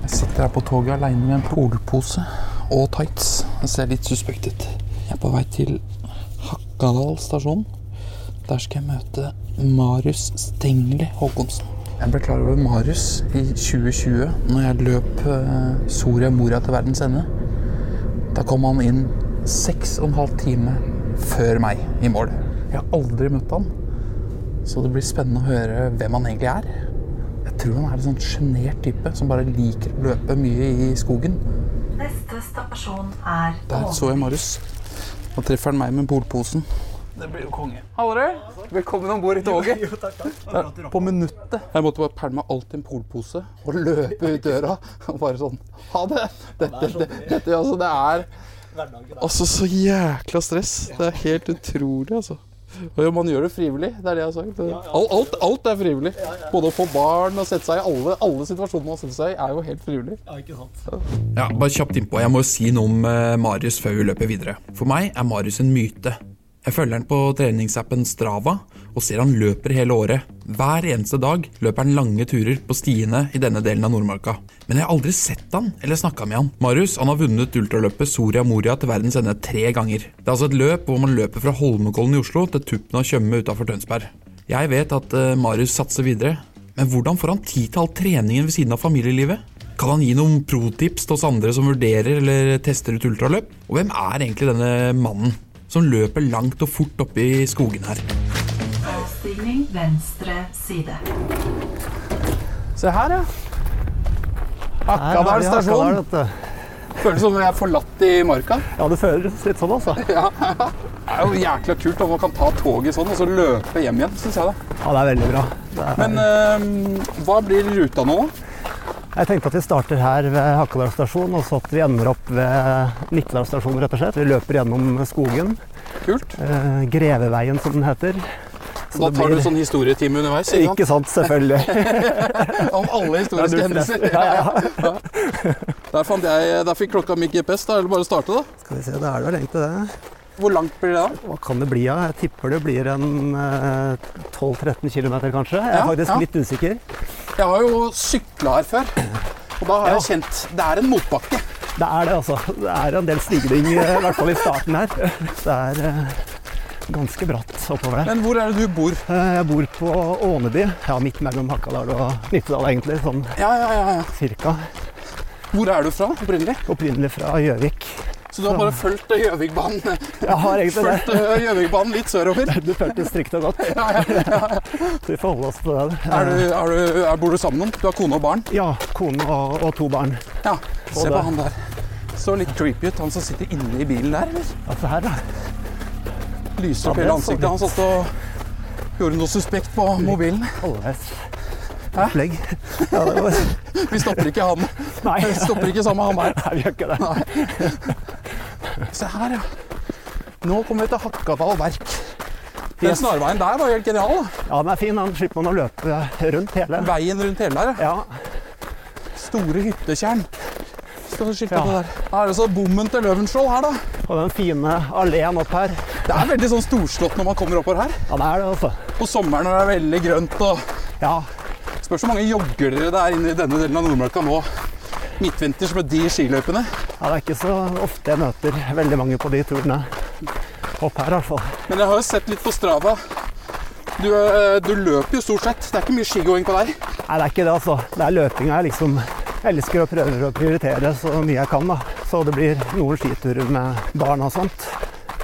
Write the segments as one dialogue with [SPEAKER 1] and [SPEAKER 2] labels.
[SPEAKER 1] Jeg sitter her på toget aleine med en polpose og tights. Det ser litt suspekt ut. Jeg er på vei til Hakadal stasjon. Der skal jeg møte Marius Stengli Håkonsen. Jeg ble klar over Marius i 2020 når jeg løp eh, Soria Moria til verdens ende. Da kom han inn seks og en halv time før meg i mål. Jeg har aldri møtt han, så det blir spennende å høre hvem han egentlig er. Jeg tror han er en sånn sjenert type som bare liker å løpe mye i skogen.
[SPEAKER 2] Neste stasjon er
[SPEAKER 1] Der
[SPEAKER 2] Ål.
[SPEAKER 1] så jeg Marius. Da treffer han meg med polposen. Det blir jo konge. Hallerød, velkommen om bord i toget. Der, på minuttet. Jeg måtte bare pælme alt i en polpose og løpe ut døra. Og bare sånn Ha det! Dette, det, dette altså, det er Altså, så jækla stress. Det er helt utrolig, altså. Og jo, man gjør det frivillig, det er det jeg har sagt. Alt, alt, alt er frivillig. Både å få barn og sette seg i alle, alle situasjoner man setter seg i, er jo helt frivillig. Ja, bare kjapt innpå. Jeg må jo si noe om eh, Marius før vi løper videre. For meg er Marius en myte. Jeg følger han på treningsappen Strava og ser han løper hele året. Hver eneste dag løper han lange turer på stiene i denne delen av Nordmarka. Men jeg har aldri sett han eller snakka med han. Marius han har vunnet ultraløpet Soria Moria til verdens ende tre ganger. Det er altså et løp hvor man løper fra Holmenkollen i Oslo til tuppen av Tjøme utafor Tønsberg. Jeg vet at eh, Marius satser videre, men hvordan får han tid til all treningen ved siden av familielivet? Kan han gi noen protips til oss andre som vurderer eller tester ut ultraløp? Og hvem er egentlig denne mannen som løper langt og fort oppe i skogen her?
[SPEAKER 2] Avstigning venstre side.
[SPEAKER 1] Se her, ja. Akkadal stasjon. Føles som om jeg er forlatt i marka.
[SPEAKER 3] Ja, det føles litt sånn, altså. Ja,
[SPEAKER 1] Det er jo jækla kult om man kan ta toget sånn og så løpe hjem igjen, syns jeg. da.
[SPEAKER 3] det er veldig bra. Det er-
[SPEAKER 1] Men eh, hva blir ruta nå?
[SPEAKER 3] Jeg tenkte at vi starter her ved Hakadal stasjon, og så at vi ender opp ved Nittedal stasjon, rett og slett. Vi løper gjennom skogen.
[SPEAKER 1] Kult.
[SPEAKER 3] Eh, Greveveien, som den heter.
[SPEAKER 1] Da tar
[SPEAKER 3] det blir-
[SPEAKER 1] du sånn historietime underveis ikke sant?
[SPEAKER 3] Ikke sant, selvfølgelig.
[SPEAKER 1] om alle
[SPEAKER 3] Ja,
[SPEAKER 1] historiske
[SPEAKER 3] du-
[SPEAKER 1] hendelser.
[SPEAKER 3] Ja, ja, ja.
[SPEAKER 1] Der, fant jeg, der fikk klokka mi GPS, da er det bare å starte, da.
[SPEAKER 3] Skal vi se, da er det vel egentlig det.
[SPEAKER 1] Hvor langt blir det da?
[SPEAKER 3] Hva kan det bli av? Jeg tipper det blir en eh, 12-13 km, kanskje. Jeg er
[SPEAKER 1] Ja,
[SPEAKER 3] faktisk
[SPEAKER 1] ja.
[SPEAKER 3] litt usikker.
[SPEAKER 1] Jeg har jo sykla her før, og da har
[SPEAKER 3] Ja.
[SPEAKER 1] jeg kjent Det er en motbakke.
[SPEAKER 3] Det er det, altså. Det er en del stigning, eh, i hvert fall i starten her. Det er eh, ganske bratt oppover der.
[SPEAKER 1] Men hvor er det du bor?
[SPEAKER 3] Eh, Jeg bor på Åneby, ja, midt mellom Hakadal og Nittedal, egentlig. Sånn
[SPEAKER 1] Ja, ja, ja, ja.
[SPEAKER 3] cirka.
[SPEAKER 1] Hvor er du fra opprinnelig?
[SPEAKER 3] Opprinnelig fra Gjøvik.
[SPEAKER 1] Så du har bare fulgt eh, Gjøvikbanen
[SPEAKER 3] Jeg har egentlig det.
[SPEAKER 1] Fulgt, eh, Gjøvikbanen litt sørover?
[SPEAKER 3] Du følte strikt og godt.
[SPEAKER 1] Ja, ja.
[SPEAKER 3] Så vi får holde oss til det.
[SPEAKER 1] Er du, er du, er, bor du sammen med noen? Du har kone og barn?
[SPEAKER 3] Ja, kone og, og to barn.
[SPEAKER 1] Ja. Se
[SPEAKER 3] der.
[SPEAKER 1] på han der. Så litt creepy ut, han som sitter inne i bilen der. eller?
[SPEAKER 3] Altså her, da.
[SPEAKER 1] Lyser
[SPEAKER 3] Ja,
[SPEAKER 1] opp hele
[SPEAKER 3] det så
[SPEAKER 1] ansiktet. Han satt og gjorde noe suspekt på mobilen.
[SPEAKER 3] Halvveis opplegg. Ja, det var...
[SPEAKER 1] Vi stopper ikke han.
[SPEAKER 3] Nei,
[SPEAKER 1] Vi stopper ikke sammen med han her.
[SPEAKER 3] Nei, vi gjør ikke det.
[SPEAKER 1] Se her, ja. Nå kommer vi til Hakkadal verk. Den snarveien der var helt genial. da.
[SPEAKER 3] Ja, den er fin. Den slipper man å løpe rundt hele.
[SPEAKER 1] Veien rundt hele der. ja.
[SPEAKER 3] Ja,
[SPEAKER 1] Store hyttekjern. Står det skiltet
[SPEAKER 3] Ja.
[SPEAKER 1] på der. Her er det så bommen til Løvenskiold her, da.
[SPEAKER 3] og den fine alleen opp her.
[SPEAKER 1] Det er veldig sånn storslått når man kommer oppover her.
[SPEAKER 3] Ja, det er det, altså.
[SPEAKER 1] På sommeren når det er veldig grønt og
[SPEAKER 3] Ja,
[SPEAKER 1] Spørs hvor mange joggere det er inne i denne delen av Nordmarka nå. Midtvinters med de skiløypene.
[SPEAKER 3] ja, det er ikke så ofte jeg møter veldig mange på de turene. Opp her, i hvert fall.
[SPEAKER 1] Men jeg har jo sett litt på Strava. Du, eh, du løper jo stort sett. Det er ikke mye skigåing på deg.
[SPEAKER 3] Nei, det er ikke det, altså. Det er løpinga jeg liksom elsker og prøver å prioritere så mye jeg kan, da. Så det blir noen skiturer med barn og sånt.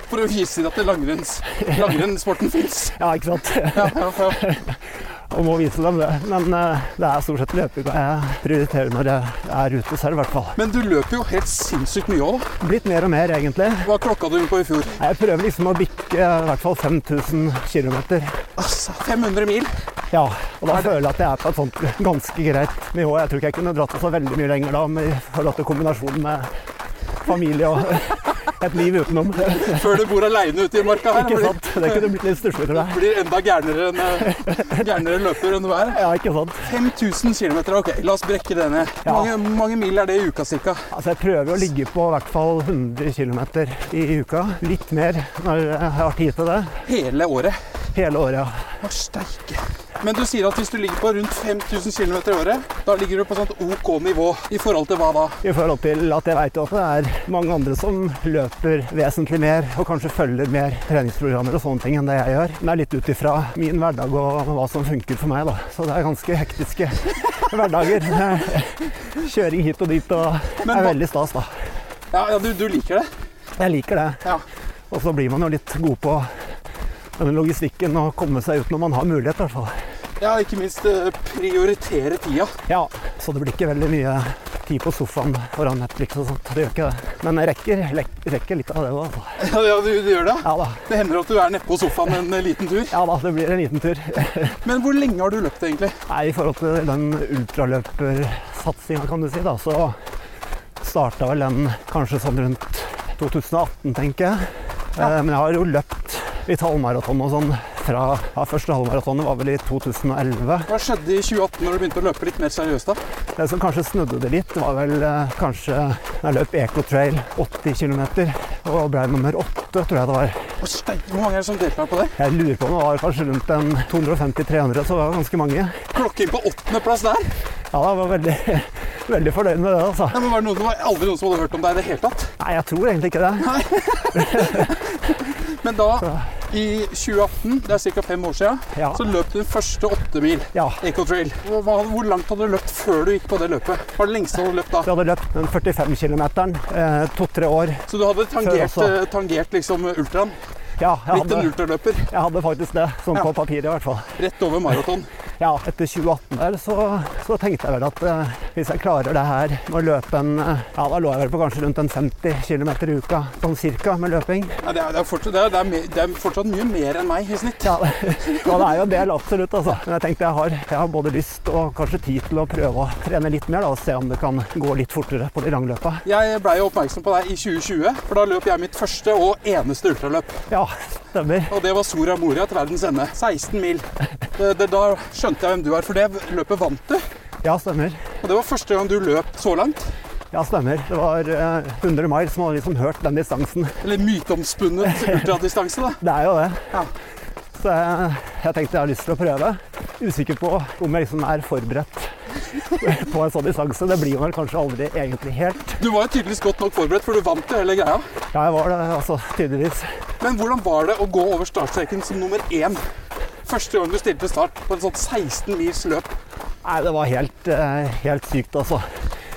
[SPEAKER 1] For å vise deg at det langrenns- langrennssporten fins.
[SPEAKER 3] Ja, ikke sant?
[SPEAKER 1] Ja, ja, ja.
[SPEAKER 3] Og må vise dem det. Men eh, det er stort sett løpinga jeg prioriterer når jeg er ute selv, i hvert fall.
[SPEAKER 1] Men du løper jo helt sinnssykt mye òg, da.
[SPEAKER 3] Blitt mer og mer, egentlig.
[SPEAKER 1] Hva klokka du på i fjor?
[SPEAKER 3] Nei, Jeg prøver liksom å bikke eh, i hvert fall 5000 km.
[SPEAKER 1] Altså, 500 mil.
[SPEAKER 3] Ja, og da føler jeg at jeg er på et sånt ganske greit nivå. Jeg tror ikke jeg kunne dratt det så veldig mye lenger da, men i forhold til kombinasjonen med familie og et liv utenom.
[SPEAKER 1] Før du bor aleine ute i marka her.
[SPEAKER 3] Ikke
[SPEAKER 1] blir-
[SPEAKER 3] sant? Det kunne blitt litt stussligere der.
[SPEAKER 1] Blir enda gærnere enn eh, gærnere løper enn du er.
[SPEAKER 3] Ja, ikke sant?
[SPEAKER 1] 5000 km, ok, la oss brekke det ned. Hvor
[SPEAKER 3] Ja.
[SPEAKER 1] mange, hvor mange mil er det i uka ca.?
[SPEAKER 3] Altså, jeg prøver å ligge på i hvert fall 100 km i uka. Litt mer når jeg har tid til det.
[SPEAKER 1] Hele året.
[SPEAKER 3] Hele året.
[SPEAKER 1] Å, steike. Men du sier at hvis du ligger på rundt 5000 km i året, da ligger du på sånt OK nivå. I forhold til hva da?
[SPEAKER 3] I forhold til at jeg veit at det er mange andre som løper vesentlig mer, og kanskje følger mer treningsprogrammer og sånne ting enn det jeg gjør. Men det er litt ut ifra min hverdag og hva som funker for meg, da. Så det er ganske hektiske hverdager. Kjøring hit og dit og det
[SPEAKER 1] Men
[SPEAKER 3] er
[SPEAKER 1] hva-
[SPEAKER 3] veldig stas, da.
[SPEAKER 1] Ja, ja du, du liker det?
[SPEAKER 3] Jeg liker det.
[SPEAKER 1] Ja.
[SPEAKER 3] Og så blir man jo litt god på denne logistikken og komme seg ut når man har mulighet, i hvert fall.
[SPEAKER 1] Ja, ikke minst eh, prioritere tida.
[SPEAKER 3] Ja, så det blir ikke veldig mye tid på sofaen foran Netflix og sånt. Det gjør ikke det. Men jeg rekker, lek- rekker litt av det òg, altså.
[SPEAKER 1] Ja, ja du, du gjør det?
[SPEAKER 3] Ja da.
[SPEAKER 1] Det hender at du er nedpå sofaen en eh, liten tur.
[SPEAKER 3] Ja da, det blir en liten tur.
[SPEAKER 1] Men hvor lenge har du løpt egentlig?
[SPEAKER 3] Nei, I forhold til den ultraløpersatsinga, kan du si, da, så starta vel den kanskje sånn rundt 2018, tenker jeg. Eh, Men jeg har jo løpt litt halvmaraton og sånn fra ja, Første halvmaratonet var vel i 2011.
[SPEAKER 1] Hva skjedde i 2018 når du begynte å løpe litt mer seriøst da?
[SPEAKER 3] Det som kanskje snudde det litt, var vel eh, kanskje Jeg løp Ecotrail 80 km og ble nummer åtte, tror jeg det var.
[SPEAKER 1] Å, steike, hvor mange er det som deltar på det?
[SPEAKER 3] Jeg lurer på om det var kanskje rundt en 250-300, så det var ganske mange. Ja,
[SPEAKER 1] Klokke inn på åttendeplass der?
[SPEAKER 3] jeg var veldig, veldig fornøyd med det, altså.
[SPEAKER 1] Ja, men var det noen, som var aldri noen som hadde hørt om deg i det hele tatt.
[SPEAKER 3] Nei, jeg tror egentlig ikke det.
[SPEAKER 1] Men da, i 2018, det er ca. fem år siden,
[SPEAKER 3] Ja.
[SPEAKER 1] så løp du den første åttemil.
[SPEAKER 3] Ja.
[SPEAKER 1] Ecotrail. Hva- hva- Hvor langt hadde du løpt før du gikk på det løpet? Hva var det lengste du hadde løpt
[SPEAKER 3] Jeg
[SPEAKER 1] da?
[SPEAKER 3] hadde løpt den 45 km, eh, to-tre år.
[SPEAKER 1] Så du hadde tangert,
[SPEAKER 3] også.
[SPEAKER 1] eh, tangert liksom ultraen?
[SPEAKER 3] Ja, jeg
[SPEAKER 1] Blitt
[SPEAKER 3] hadde,
[SPEAKER 1] en ultraløper?
[SPEAKER 3] jeg hadde faktisk det, sånn
[SPEAKER 1] Ja.
[SPEAKER 3] på papiret i hvert fall.
[SPEAKER 1] Rett over maraton.
[SPEAKER 3] Ja, etter 2018 der så, så tenkte jeg vel at eh, hvis jeg klarer det her med å løpe en eh, Ja, da lå jeg vel på kanskje rundt en 50 km i uka, sånn cirka, med løping.
[SPEAKER 1] Nei, det, er, det, er fortsatt, det, er, det, er mer, det er fortsatt mye mer enn meg i snitt.
[SPEAKER 3] Ja, ja, det er jo en del, absolutt. Altså. Men jeg tenkte jeg har, jeg har både lyst og kanskje tid til å prøve å trene litt mer da, og se om det kan gå litt fortere på de langløpa.
[SPEAKER 1] Jeg blei oppmerksom på deg i 2020, for da løp jeg mitt første og eneste ultraløp.
[SPEAKER 3] Ja, stemmer.
[SPEAKER 1] Og det var Soria Moria til verdens ende. 16 mil. Det, det, da skjønte jeg hvem du er, for det løpet vant du.
[SPEAKER 3] Ja, stemmer.
[SPEAKER 1] Og det var første gang du løp så langt.
[SPEAKER 3] Ja, stemmer. Det var eh, 100 mile som hadde liksom hørt den distansen.
[SPEAKER 1] Eller myteomspunnet ultradistanse, da.
[SPEAKER 3] Det er jo det.
[SPEAKER 1] Ja.
[SPEAKER 3] Så jeg, jeg tenkte jeg har lyst til å prøve. Usikker på om jeg liksom er forberedt på en sånn distanse. Det blir man kanskje aldri egentlig helt.
[SPEAKER 1] Du var jo tydeligvis godt nok forberedt, for du vant jo hele greia.
[SPEAKER 3] Ja, jeg var det, altså, tydeligvis.
[SPEAKER 1] Men hvordan var det å gå over startstreken som nummer én? Første gang du stilte start på en sånn 16 mils løp.
[SPEAKER 3] Nei, det var helt, eh, helt sykt, altså.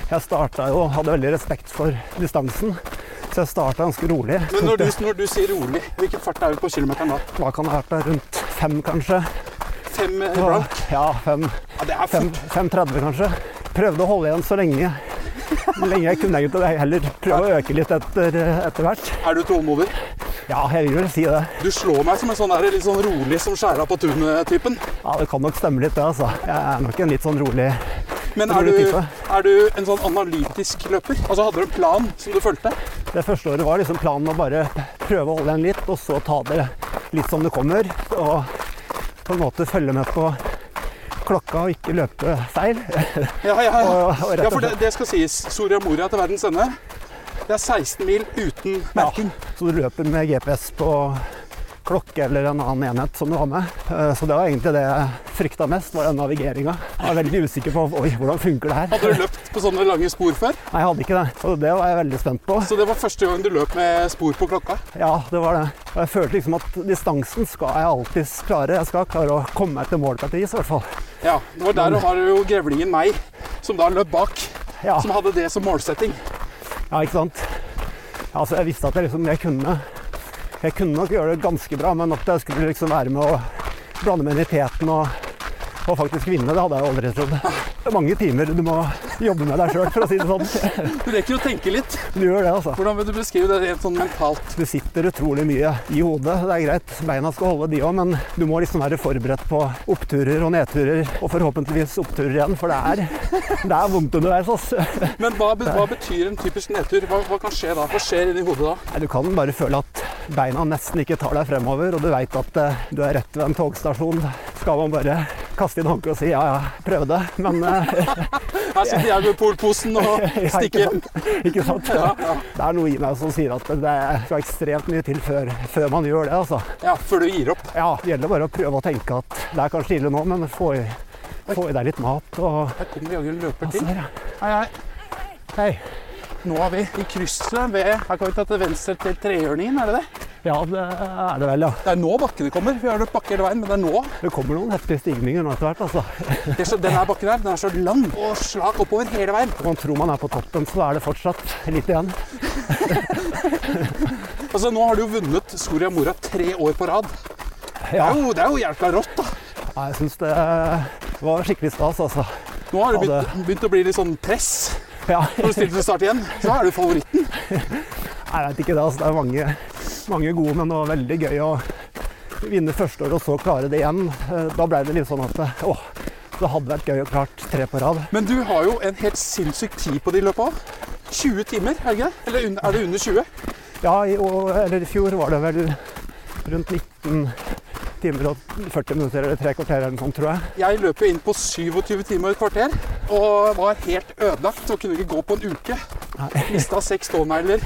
[SPEAKER 3] Jeg starta jo Hadde veldig respekt for distansen, så jeg starta ganske rolig.
[SPEAKER 1] Men når du, når du sier rolig, hvilken fart er vi på kilometeren da?
[SPEAKER 3] Hva kan det ha vært da? Rundt fem, kanskje?
[SPEAKER 1] Fem eh, blank?
[SPEAKER 3] Ja, fem,
[SPEAKER 1] Ja, det er
[SPEAKER 3] fem,
[SPEAKER 1] fort.
[SPEAKER 3] 5.30, kanskje. Prøvde å holde igjen så lenge. Lenge jeg kunne egentlig det heller. Prøve å øke litt etter, etter hvert.
[SPEAKER 1] Er du tålmodig?
[SPEAKER 3] Ja, jeg vil vel si det.
[SPEAKER 1] Du slår meg som en sånn der, litt sånn rolig som skjæra på tunet-typen.
[SPEAKER 3] Ja, Det kan nok stemme litt, det. altså. Jeg er nok en litt sånn rolig
[SPEAKER 1] Men er
[SPEAKER 3] Rolig
[SPEAKER 1] du,
[SPEAKER 3] type.
[SPEAKER 1] er du en sånn analytisk løper? Altså Hadde du en plan som du fulgte?
[SPEAKER 3] Det første året var liksom planen å bare prøve å holde igjen litt, og så ta det litt som det kommer. Og på en måte følge med på klokka og ikke løpe feil.
[SPEAKER 1] Ja, ja, ja.
[SPEAKER 3] Og- og rett
[SPEAKER 1] ja
[SPEAKER 3] og
[SPEAKER 1] for det,
[SPEAKER 3] slett.
[SPEAKER 1] det skal sies. Soria Moria til verdens ende. Det er 16 mil uten merking.
[SPEAKER 3] Så du løper med GPS på klokke eller en annen enhet som du har med. Eh, Så det var egentlig det jeg frykta mest, var den navigeringa. Jeg var veldig usikker på oi, hvordan funker det her.
[SPEAKER 1] Hadde du løpt på sånne lange spor før?
[SPEAKER 3] Nei, jeg hadde ikke det, og det var jeg veldig spent på.
[SPEAKER 1] Så det var første gang du løp med spor på klokka?
[SPEAKER 3] Ja, det var det. Og jeg følte liksom at distansen skal jeg alltid klare. Jeg skal klare å komme meg til mål på et vis, i hvert fall.
[SPEAKER 1] Ja. Det var der du har jo grevlingen meg, som da løp bak.
[SPEAKER 3] Ja.
[SPEAKER 1] Som hadde det som målsetting.
[SPEAKER 3] Ja, ikke sant? Ja, Altså, jeg visste at jeg, liksom, jeg kunne Jeg kunne nok gjøre det ganske bra, men at jeg skulle liksom være med og blande meg inn i teten og, og faktisk vinne. Det hadde jeg jo aldri trodd. Det er mange timer du må jobbe med deg sjøl, for å si det sånn.
[SPEAKER 1] Du rekker å tenke litt.
[SPEAKER 3] Du gjør det, altså.
[SPEAKER 1] Hvordan vil du beskrive det rent sånn mentalt?
[SPEAKER 3] Du sitter utrolig mye i hodet. Det er greit, beina skal holde de òg, men du må liksom være forberedt på oppturer og nedturer, og forhåpentligvis oppturer igjen, for det er, det er vondt altså. underveis. ass.
[SPEAKER 1] Men hva, be- hva betyr en typisk nedtur? Hva, hva kan skje da? Hva skjer inni hodet da?
[SPEAKER 3] Nei, Du kan bare føle at beina nesten ikke tar deg fremover, og du veit at eh, du er rett ved en togstasjon. Skal man bare kaste inn håndkleet og si ja, ja, prøvde, men eh,
[SPEAKER 1] Her sitter jeg med polposen og
[SPEAKER 3] Ja, ikke
[SPEAKER 1] stikker.
[SPEAKER 3] sant? Ikke sant? Det er noe i meg som sier at det skal ekstremt mye til før, før man gjør det. altså.
[SPEAKER 1] Ja, før du gir opp.
[SPEAKER 3] Ja, Det gjelder bare å prøve å tenke at det er kanskje ille nå, men få i, få i deg litt mat og
[SPEAKER 1] Her kommer jaggu en løper
[SPEAKER 3] Se
[SPEAKER 1] til.
[SPEAKER 3] her, ja.
[SPEAKER 1] Hei, hei.
[SPEAKER 3] Hei.
[SPEAKER 1] Nå er vi i krysset ved Her kan vi ta til venstre til trehjørningen, er det det?
[SPEAKER 3] Ja, det er det vel, ja.
[SPEAKER 1] Det er nå bakkene kommer. Vi har løpt bakke hele veien, men det er nå.
[SPEAKER 3] Det kommer noen heftige stigninger nå etter hvert. altså.
[SPEAKER 1] Det er så, den her bakken her, den er så lang og slak oppover hele veien.
[SPEAKER 3] Man tror man er på toppen, så er det fortsatt litt igjen.
[SPEAKER 1] Altså, nå har du jo vunnet Soria Moria tre år på rad. Det
[SPEAKER 3] Ja,
[SPEAKER 1] er jo, det er jo jækla rått, da.
[SPEAKER 3] ja, jeg syns det var skikkelig stas, altså.
[SPEAKER 1] Nå har det
[SPEAKER 3] Ja, det-
[SPEAKER 1] begynt, begynt å bli litt sånn press.
[SPEAKER 3] Ja,
[SPEAKER 1] Når du stiller til start igjen, så er du favoritten.
[SPEAKER 3] Jeg veit ikke det. altså. Det er mange, mange gode, men det var veldig gøy å vinne første år og så klare det igjen. Eh, Da ble det litt sånn at eh, åh, det hadde vært gøy å klart tre på rad.
[SPEAKER 1] Men du har jo en helt sinnssyk tid på de løpa. 20 timer, er det ikke det? Eller un- er det under 20?
[SPEAKER 3] Ja, i, år, eller i fjor var det vel rundt 19 timer og 40 minutter eller tre kvarter eller noe sånt, tror jeg.
[SPEAKER 1] Jeg løp jo inn på 27 timer og et kvarter og var helt ødelagt og kunne ikke gå på en uke. Mista seks stånegler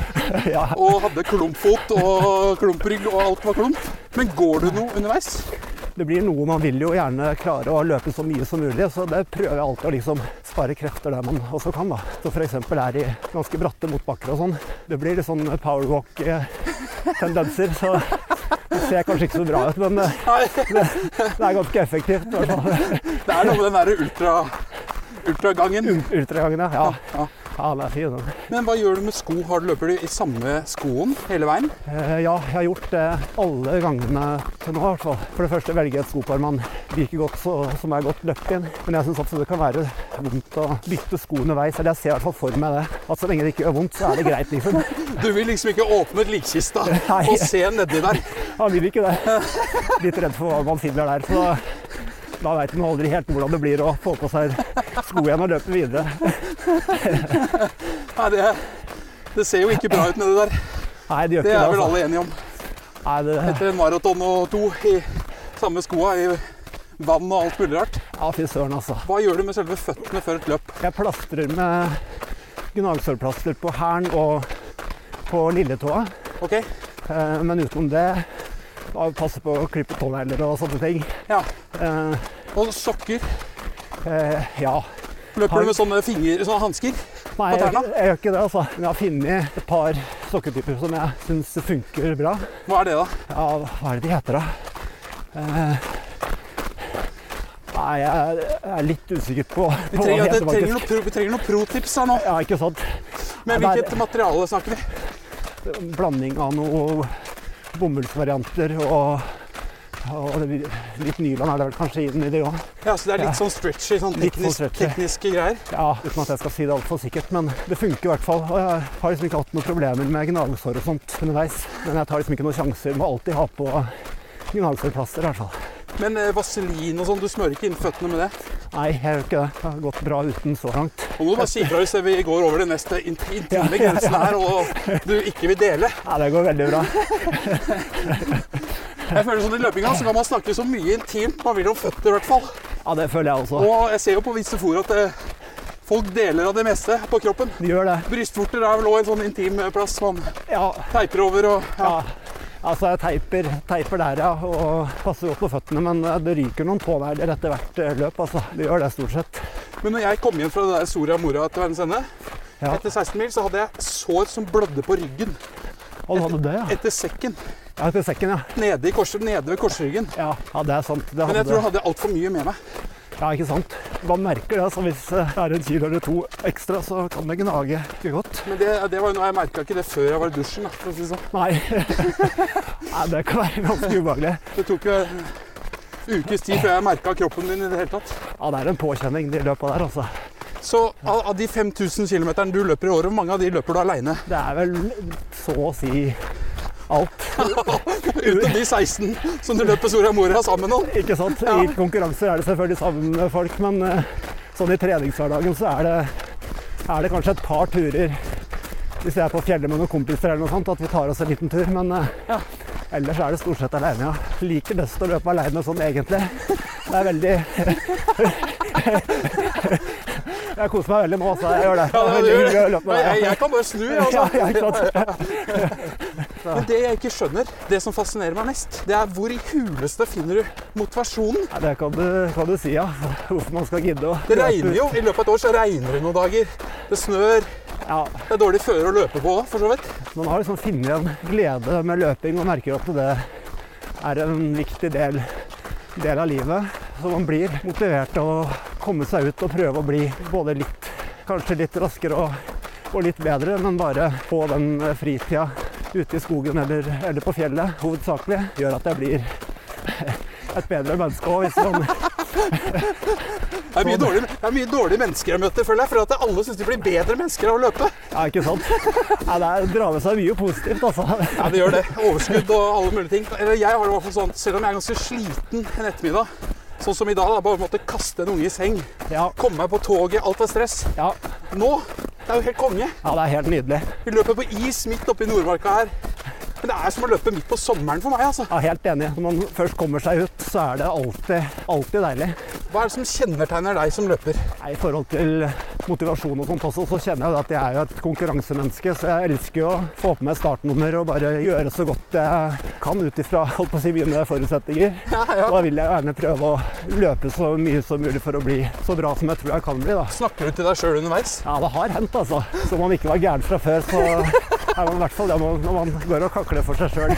[SPEAKER 3] Ja,
[SPEAKER 1] og hadde klumpfot og klumprygg og alt var klump. Men går du noe underveis?
[SPEAKER 3] det blir noe man vil jo gjerne klare å løpe så mye som mulig, så det prøver jeg alltid å liksom spare krefter der man også kan, da. Så for eksempel er i ganske bratte motbakker og sånn. Det blir litt sånn powerwalk-tendenser, så det ser kanskje ikke så bra ut, men eh,
[SPEAKER 1] Nei,
[SPEAKER 3] det er ganske effektivt. i hvert fall.
[SPEAKER 1] det er noe med den derre ultra, ultragangen.
[SPEAKER 3] Ultragangen, ja.
[SPEAKER 1] Ja.
[SPEAKER 3] ja. Ja, den er fin. den.
[SPEAKER 1] Men hva gjør du med sko? Har du løper du i samme skoen hele veien?
[SPEAKER 3] Eh, Ja, jeg har gjort det alle gangene til nå. i hvert fall. For det første velger jeg et skopar man liker godt, så, som er godt løpt inn. Men jeg syns også det kan være vondt å bytte sko underveis. Eller jeg ser i hvert fall for meg det. At så lenge det ikke gjør vondt, så er det greit, liksom.
[SPEAKER 1] Du vil liksom ikke åpne likkista
[SPEAKER 3] Nei.
[SPEAKER 1] og se nedi der.
[SPEAKER 3] Jeg vil ikke det. Litt redd for hva man finner der. Så da, da veit man aldri helt hvordan det blir å få på seg sko igjen og løpe videre.
[SPEAKER 1] Nei, det, det ser jo ikke bra ut nedi der.
[SPEAKER 3] Nei, det gjør
[SPEAKER 1] Det
[SPEAKER 3] ikke
[SPEAKER 1] er
[SPEAKER 3] det.
[SPEAKER 1] vel
[SPEAKER 3] Altså.
[SPEAKER 1] alle enige om.
[SPEAKER 3] Nei, det
[SPEAKER 1] Etter en maraton og to i samme skoa i vann og alt mulig rart.
[SPEAKER 3] ja, fy søren, altså.
[SPEAKER 1] Hva gjør du med selve føttene før et løp?
[SPEAKER 3] Jeg plastrer med gnagsårplaster på hælen og på lilletåa.
[SPEAKER 1] Ok?
[SPEAKER 3] Eh, Men utenom det da passe på å klippe tånegler og sånne ting.
[SPEAKER 1] Ja.
[SPEAKER 3] Eh,
[SPEAKER 1] Og sokker.
[SPEAKER 3] eh, ja.
[SPEAKER 1] Løper du med sånne finger, sånne hansker?
[SPEAKER 3] Nei,
[SPEAKER 1] På
[SPEAKER 3] jeg,
[SPEAKER 1] tærne?
[SPEAKER 3] jeg gjør ikke det, altså. Men jeg har funnet et par sokketyper som jeg syns funker bra.
[SPEAKER 1] Hva er det, da?
[SPEAKER 3] Ja, hva er det de heter, da? Eh, nei, jeg jeg er litt usikker på,
[SPEAKER 1] Vi trenger,
[SPEAKER 3] på hva de
[SPEAKER 1] det
[SPEAKER 3] heter,
[SPEAKER 1] trenger, noe,
[SPEAKER 3] faktisk.
[SPEAKER 1] pro, vi trenger noe pro-tips her nå.
[SPEAKER 3] Ja, ikke sant?
[SPEAKER 1] Med
[SPEAKER 3] Nei, det
[SPEAKER 1] hvilket materiale snakker vi?
[SPEAKER 3] er en Blanding av noe bomullsvarianter og, og det, litt nylon er det vel kanskje inn i det òg.
[SPEAKER 1] Ja, så Det er litt sånn stretchy, sånn
[SPEAKER 3] Litt sånn
[SPEAKER 1] teknisk,
[SPEAKER 3] stretchy.
[SPEAKER 1] tekniske greier.
[SPEAKER 3] Ja, uten at jeg skal si det altfor sikkert, men det funker i hvert fall. Og jeg har liksom ikke hatt noen problemer med gnagsår og sånt underveis. Men jeg tar liksom ikke noen sjanser. Må alltid ha på gnagsårplaster i hvert fall.
[SPEAKER 1] Men eh, vaselin og sånn, du smører ikke inn føttene med det?
[SPEAKER 3] Nei, jeg gjør ikke det. Det har gått bra uten så langt.
[SPEAKER 1] Nå må du bare si ifra hvis vi går over den neste int- intime grensen her og du ikke vil dele.
[SPEAKER 3] Nei, det går veldig bra.
[SPEAKER 1] Jeg føler sånn I løpinga så kan man snakke så mye intimt man vil om føtter, i hvert fall.
[SPEAKER 3] Ja, det føler jeg også.
[SPEAKER 1] Og jeg ser jo på visse fora at eh, folk deler av det meste på kroppen.
[SPEAKER 3] Det Gjør det.
[SPEAKER 1] Brystvorter er vel òg en sånn intim eh, plass man
[SPEAKER 3] Ja.
[SPEAKER 1] teiper over og ja.
[SPEAKER 3] ja. Altså, jeg teiper, teiper der, ja, og passer godt på føttene, men eh, det ryker noen tånegler etter hvert eh, løp, altså. Det gjør det stort sett.
[SPEAKER 1] Men når jeg kom hjem fra det der Soria Moria til verdens ende,
[SPEAKER 3] Ja.
[SPEAKER 1] etter 16 mil, så hadde jeg sår som blødde på ryggen.
[SPEAKER 3] Og du hadde det, ja?
[SPEAKER 1] Etter sekken.
[SPEAKER 3] Ja, etter sekken, ja.
[SPEAKER 1] Nede, i kors, nede ved korsryggen.
[SPEAKER 3] Ja, ja det er sant. Det
[SPEAKER 1] Men jeg
[SPEAKER 3] hadde-
[SPEAKER 1] tror jeg hadde altfor mye med meg.
[SPEAKER 3] Ja, ikke sant? Man merker det, så hvis det er en kilo eller to ekstra, så kan det gnage ikke godt.
[SPEAKER 1] Men det, det var jo noe jeg merka ikke det før jeg var i dusjen. Da, for å si det sånn.
[SPEAKER 3] Nei. Nei, det kan være ganske ubehagelig.
[SPEAKER 1] Det tok jo eh, ukes tid før jeg merka kroppen min i det hele tatt.
[SPEAKER 3] Ja, det er en påkjenning, de løpa der, altså.
[SPEAKER 1] Så av, av de 5000 km du løper i året, hvor mange av de løper du aleine?
[SPEAKER 3] Det er vel så å si alt.
[SPEAKER 1] Utenom de 16 som du løper Soria Moria sammen om.
[SPEAKER 3] Ikke sant? I konkurranser er det selvfølgelig sammen med folk, men eh, sånn i treningshverdagen så er det, er det kanskje et par turer hvis jeg er på fjellet med noen kompiser eller noe sånt, at vi tar oss en liten tur. Men eh, ellers er det stort sett aleine, ja. Liker best å løpe aleine sånn egentlig. Det er veldig Jeg koser meg veldig nå, så jeg gjør det.
[SPEAKER 1] Ja, det,
[SPEAKER 3] veldig
[SPEAKER 1] gjør
[SPEAKER 3] hyggelig å
[SPEAKER 1] det.
[SPEAKER 3] løpe med
[SPEAKER 1] Nei,
[SPEAKER 3] deg, ja.
[SPEAKER 1] jeg, jeg kan bare snu, jeg,
[SPEAKER 3] Ja,
[SPEAKER 1] altså.
[SPEAKER 3] ja, ikke sant?
[SPEAKER 1] Men det jeg ikke skjønner, det som fascinerer meg mest, det er hvor i huleste finner du motivasjonen?
[SPEAKER 3] Ja, det kan du, kan du si, ja. Hvorfor man skal gidde å
[SPEAKER 1] Det regner jo. I løpet av et år så regner det noen dager. Det snør.
[SPEAKER 3] Ja,
[SPEAKER 1] Det er dårlig føre å løpe på òg, for så vidt.
[SPEAKER 3] Man har liksom funnet en glede med løping og merker at det er en viktig del, del av livet. Så man blir motivert til å komme seg ut og prøve å bli både litt, kanskje litt raskere og, og litt bedre, men bare på den fritida ute i skogen eller, eller på fjellet hovedsakelig, gjør at jeg blir et bedre menneske òg, hvis man
[SPEAKER 1] Det er mye dårlige, det er mye dårlige mennesker jeg møter, føler jeg. For at alle syns de blir bedre mennesker av å løpe.
[SPEAKER 3] Ja, ikke sant? Ja, det er- drar med seg mye positivt, altså.
[SPEAKER 1] Ja, det gjør det. Overskudd og alle mulige ting. Eller jeg har det i hvert fall sånn, selv om jeg er ganske sliten en ettermiddag. Sånn som i dag, da, bare måtte kaste en unge i seng.
[SPEAKER 3] Ja,
[SPEAKER 1] Komme meg på toget, alt var stress.
[SPEAKER 3] ja,
[SPEAKER 1] Nå det er jo helt konge.
[SPEAKER 3] ja, det er helt nydelig.
[SPEAKER 1] Vi løper på is midt oppe i Nordmarka her. Men det er som å løpe midt på sommeren for meg, altså.
[SPEAKER 3] Ja, helt enig. Når man først kommer seg ut, så er det alltid, alltid deilig.
[SPEAKER 1] Hva er det som kjennetegner deg som løper?
[SPEAKER 3] Nei, I forhold til motivasjon og sånt også, så kjenner jeg jo at jeg er jo et konkurransemenneske, så jeg elsker jo å få på meg startnummer og bare gjøre så godt jeg kan ut ifra holdt på å si, mine forutsetninger. Da vil jeg gjerne prøve å løpe så mye som mulig for å bli så bra som jeg tror jeg kan bli, da.
[SPEAKER 1] Snakker du til deg sjøl underveis?
[SPEAKER 3] Ja, det har hendt, altså. Som om man ikke var gæren fra før, så er man i hvert fall det man- når man går og kakler for seg sjøl.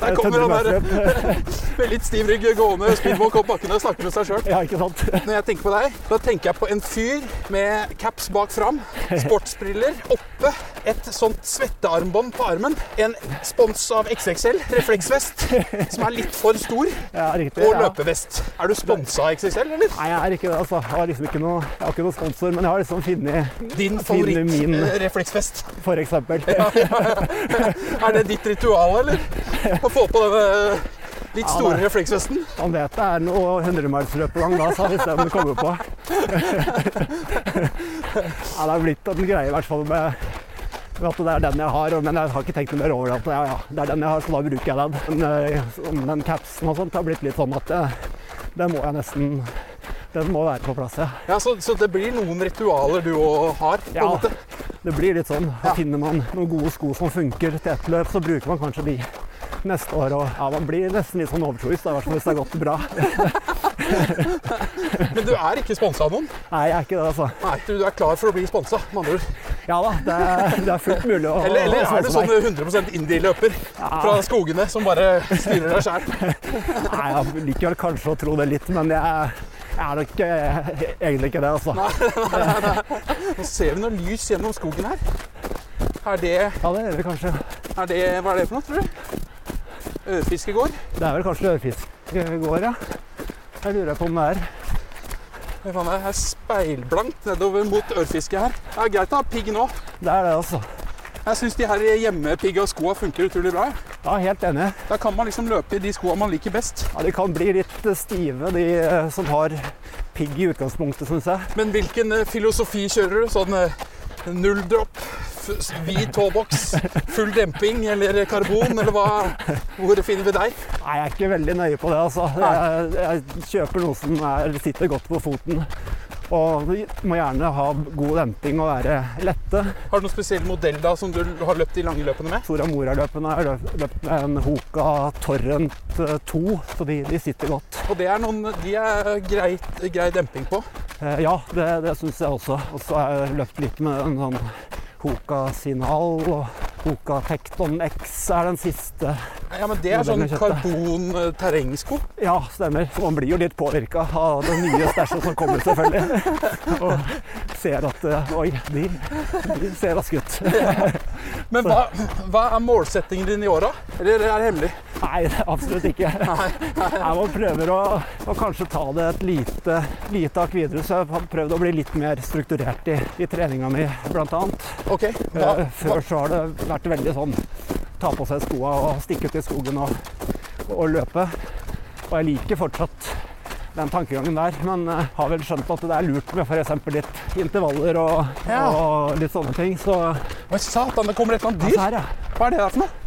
[SPEAKER 1] Der kommer han der med litt stiv rygg gående, speedwalk opp bakken og snakker med seg sjøl.
[SPEAKER 3] Ja, ikke sant?
[SPEAKER 1] Når jeg tenker på deg, da tenker jeg på en fyr med caps bak fram, sportsbriller oppe, et sånt svettearmbånd på armen, en spons av XXL, refleksvest, som er litt for stor,
[SPEAKER 3] Ja, riktig.
[SPEAKER 1] og
[SPEAKER 3] ja.
[SPEAKER 1] løpevest. Er du sponsa av XXL, eller?
[SPEAKER 3] Nei, jeg er ikke det. altså. Jeg har liksom ikke noe, jeg har ikke noe sponsor, men jeg har liksom funnet
[SPEAKER 1] Din eh,
[SPEAKER 3] Finner min.
[SPEAKER 1] favoritt-refleksvest.
[SPEAKER 3] for eksempel.
[SPEAKER 1] Er det ditt ritual, eller? Å få på denne eh, litt store
[SPEAKER 3] det-
[SPEAKER 1] refleksvesten?
[SPEAKER 3] Han vet det er noe hundremilsløp på gang da, så hvis den kommer på. Ja, det er blitt en greie i hvert fall med med at det er den jeg har, men jeg har ikke tenkt noe mer over det. at Ja, ja, det er den jeg har, så da bruker jeg den. Men eh, som den capsen og sånt har blitt litt sånn at eh, den må jeg nesten Den må være på plass, ja.
[SPEAKER 1] Ja, så, så det blir noen ritualer du òg har? på en
[SPEAKER 3] Ja.
[SPEAKER 1] måte.
[SPEAKER 3] Det blir litt sånn.
[SPEAKER 1] Ja.
[SPEAKER 3] Da finner man noen gode sko som funker til ett løp, så bruker man kanskje de neste år. Og ja, man blir nesten litt sånn overtroisk, da, i hvert fall hvis det har gått bra.
[SPEAKER 1] Men du er ikke sponsa av noen?
[SPEAKER 3] Nei, jeg er ikke det, altså.
[SPEAKER 1] Nei, du du er klar for å bli sponsa, med andre ord.
[SPEAKER 3] Ja da, det er, det er fullt mulig å
[SPEAKER 1] Eller, eller
[SPEAKER 3] å- å
[SPEAKER 1] er du
[SPEAKER 3] sånn
[SPEAKER 1] sånn
[SPEAKER 3] som meg.
[SPEAKER 1] 100 indie-løper fra skogene som bare styrer deg sjæl?
[SPEAKER 3] Nei, jeg liker vel kanskje å tro det litt, men jeg, jeg er nok eh, egentlig ikke det, altså.
[SPEAKER 1] Nå ser vi noe lys gjennom skogen her. Er det,
[SPEAKER 3] Ja, det gjør vi kanskje.
[SPEAKER 1] er det Hva er det for noe, tror du? Ørfiskegård?
[SPEAKER 3] Det er vel kanskje ørfisk eh, går, ja. Jeg lurer på om det er.
[SPEAKER 1] Hva faen er det? Det er speilblankt nedover mot ørfisket her. Det er greit å ha pigg nå.
[SPEAKER 3] Det er det, altså.
[SPEAKER 1] Jeg syns de her hjemmepigg og skoa funker utrolig bra. jeg.
[SPEAKER 3] Ja, helt enig.
[SPEAKER 1] Da kan man liksom løpe i de skoa man liker best.
[SPEAKER 3] Ja, de kan bli litt eh, stive, de eh, som har pigg i utgangspunktet, syns jeg.
[SPEAKER 1] Men hvilken eh, filosofi kjører du? Sånn eh, null drop, f- vid tåboks, full demping eller karbon, eller hva? Hvor finner vi deg?
[SPEAKER 3] Nei, jeg er ikke veldig nøye på det, altså. Jeg, jeg kjøper noe som er, sitter godt på foten. Og de må gjerne ha god demping og være lette.
[SPEAKER 1] Har du noen spesiell modell da som du har løpt de lange løpene med?
[SPEAKER 3] Soria Moria-løpene har løp- løpt med en Hoka Torrent eh, 2, så de, de sitter godt.
[SPEAKER 1] Og det er noen, de er greit, grei demping på.
[SPEAKER 3] Eh, Ja, det, det syns jeg også. Og så har jeg løpt litt med en sånn Hoka Signal og Hoka Tekton X er den siste.
[SPEAKER 1] Ja, men det er sånn
[SPEAKER 3] Modellen jeg kjøpte.
[SPEAKER 1] karbon-terrengsko.
[SPEAKER 3] Ja, stemmer. Så man blir jo litt påvirka av det nye stæsjet som kommer, selvfølgelig. Og ser at eh, Oi, de, de ser raske ut.
[SPEAKER 1] Men hva, hva er målsettingen din i åra? Eller er det hemmelig?
[SPEAKER 3] Nei, det er absolutt ikke. Nei, man prøver å, å kanskje ta det et lite, lite hakk videre. Så jeg har prøvd å bli litt mer strukturert i, i treninga mi, blant annet.
[SPEAKER 1] Ok, hva,
[SPEAKER 3] Eh, Før så har det vært veldig sånn ta på seg skoa og stikke ut i skogen og, og løpe. Og jeg liker fortsatt den tankegangen der, men eh, har vel skjønt at det er lurt med f.eks. litt intervaller og,
[SPEAKER 1] Ja.
[SPEAKER 3] og litt sånne ting. Så
[SPEAKER 1] hva satan, det kommer et eller
[SPEAKER 3] se
[SPEAKER 1] annet dyr!
[SPEAKER 3] her, ja.
[SPEAKER 1] Hva er det der for noe?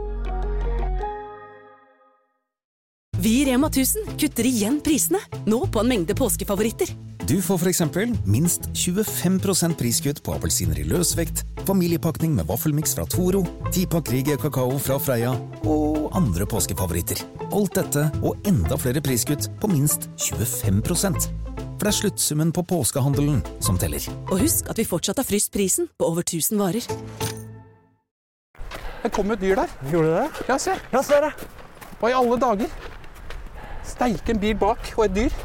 [SPEAKER 4] Vi i Rema 1000 kutter igjen prisene, nå på en mengde påskefavoritter.
[SPEAKER 5] Du får for eksempel minst 25 priskutt på appelsiner i løsvekt, familiepakning med vaffelmiks fra Toro, 10-pakk Rieger kakao fra Freia og andre påskefavoritter. Alt dette og enda flere priskutt på minst 25 For det er sluttsummen på påskehandelen som teller.
[SPEAKER 4] Og husk at vi fortsatt har fryst prisen på over 1000 varer.
[SPEAKER 1] Det kom jo et dyr der.
[SPEAKER 3] Gjorde du det?
[SPEAKER 1] Ja, se.
[SPEAKER 3] Ja, se her, ja.
[SPEAKER 1] Hva i alle dager? Steike en bil bak og et dyr.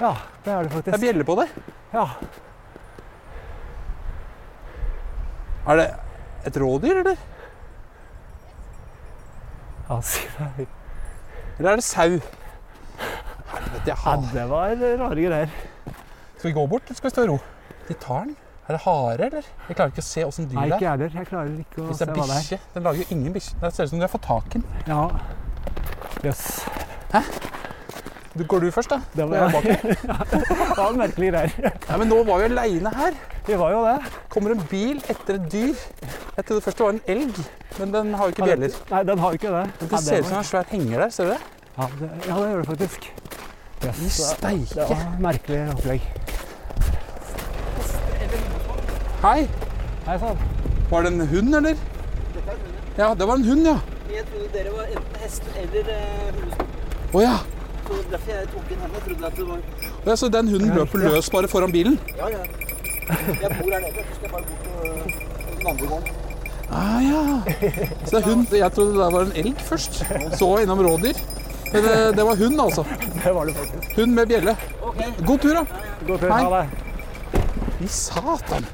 [SPEAKER 3] Ja, det er det
[SPEAKER 1] Det er
[SPEAKER 3] faktisk.
[SPEAKER 1] bjelle på det.
[SPEAKER 3] Ja.
[SPEAKER 1] Er det et rådyr, eller?
[SPEAKER 3] Ja, si det.
[SPEAKER 1] Eller er det sau? Helvete, jeg
[SPEAKER 3] ja,
[SPEAKER 1] hater
[SPEAKER 3] det var rare greier.
[SPEAKER 1] Skal vi gå bort, eller skal vi stå i ro? De tar den. Er det hare, eller? Jeg klarer ikke å se åssen dyr
[SPEAKER 3] Nei,
[SPEAKER 1] det
[SPEAKER 3] ikke
[SPEAKER 1] er.
[SPEAKER 3] jeg heller. Jeg klarer ikke å
[SPEAKER 1] Hvis
[SPEAKER 3] se
[SPEAKER 1] det er
[SPEAKER 3] hva det er.
[SPEAKER 1] bikkje Den lager jo ingen bikkje. Det ser ut som de har fått tak i den.
[SPEAKER 3] Ja. Jøss. Yes.
[SPEAKER 1] Du- Går du først, da?
[SPEAKER 3] Det
[SPEAKER 1] Og jeg
[SPEAKER 3] var, ja, det var merkelige greier.
[SPEAKER 1] Nei, men nå var vi aleine her.
[SPEAKER 3] Vi var jo det.
[SPEAKER 1] Kommer en bil etter et dyr. Jeg trodde først det var en elg, men den har jo ikke bjeller.
[SPEAKER 3] Nei, den har jo ikke det.
[SPEAKER 1] Men
[SPEAKER 3] Nei,
[SPEAKER 1] Det ser ut
[SPEAKER 3] var-
[SPEAKER 1] som en svær henger der. Ser du det?
[SPEAKER 3] Ja, det, ja, det gjør det faktisk. Yes,
[SPEAKER 1] I
[SPEAKER 3] det, det
[SPEAKER 1] steike.
[SPEAKER 3] var et merkelig opplegg.
[SPEAKER 1] Hei!
[SPEAKER 3] Nei sann.
[SPEAKER 1] Var det en hund, eller? Ja, det var en hund, ja.
[SPEAKER 6] Jeg trodde dere var enten hester eller eh, hundeskog.
[SPEAKER 1] Å ja.
[SPEAKER 6] Så det var derfor jeg tok inn henne. Jeg trodde at det var
[SPEAKER 1] Ja, Så den hunden løper løs bare foran bilen?
[SPEAKER 6] Ja, ja. Jeg bor her nede. Så skal jeg bare bort og og den andre gården.
[SPEAKER 1] Ah, ja. Så det er hund. Jeg trodde det var en elg først. Så innom rådyr. Men det, det var hund, altså.
[SPEAKER 3] Det var det faktisk.
[SPEAKER 1] Hund med bjelle. God tur, da.
[SPEAKER 3] God tur.
[SPEAKER 1] Hei.
[SPEAKER 3] Ha det.
[SPEAKER 1] I satan.